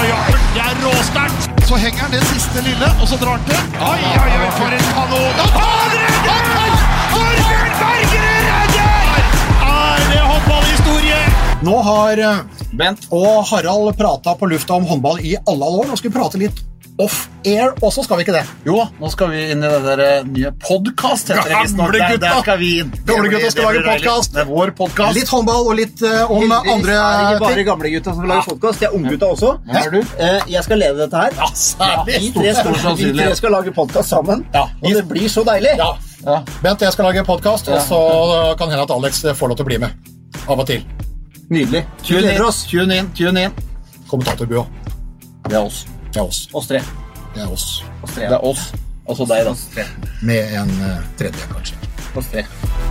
Det er råsterkt! Så henger han det siste lille, og så drar han til. Oi, oi, oi, for en kanon! Da tar han redder! Torbjørn Bergerud redder! Er det håndballhistorie? Nå har eh, Bent og Harald prata på lufta om håndball i alle alle år. Nå skal vi prate litt off-air, og så skal vi ikke det. Jo da, nå skal vi inn i den der eh, nye podkast, heter det visstnok. Gamle Der- gutta! Der skal vi inn. Det Gamle blir- gutta skal det lage blir deilig. podcast. Det er vår podkast. Litt håndball og litt eh, sånn om andre Det sånn er ikke bare ting. gamlegutta som lager podkast, det er unggutta også. Hvem er du? Eh, Jeg skal lede dette her. Ja, særlig. Vi tre Stor skal, vi sannsynlig. tre skal lage podkast sammen, Ja. og det blir så deilig. Ja. Ja. Bent, jeg skal lage podkast, og så eh, kan hende at Alex eh, får lov til å bli med. Av og til. Nydelig. Vi Tune gleder in, oss, tune in, tune in. Kommentatorbua. Det er oss. Det er oss. oss tre. Det er oss. Oss Det tre. er oss. Altså deg, da. Oss tre. Med en eh, tredje, kanskje. Oss tre.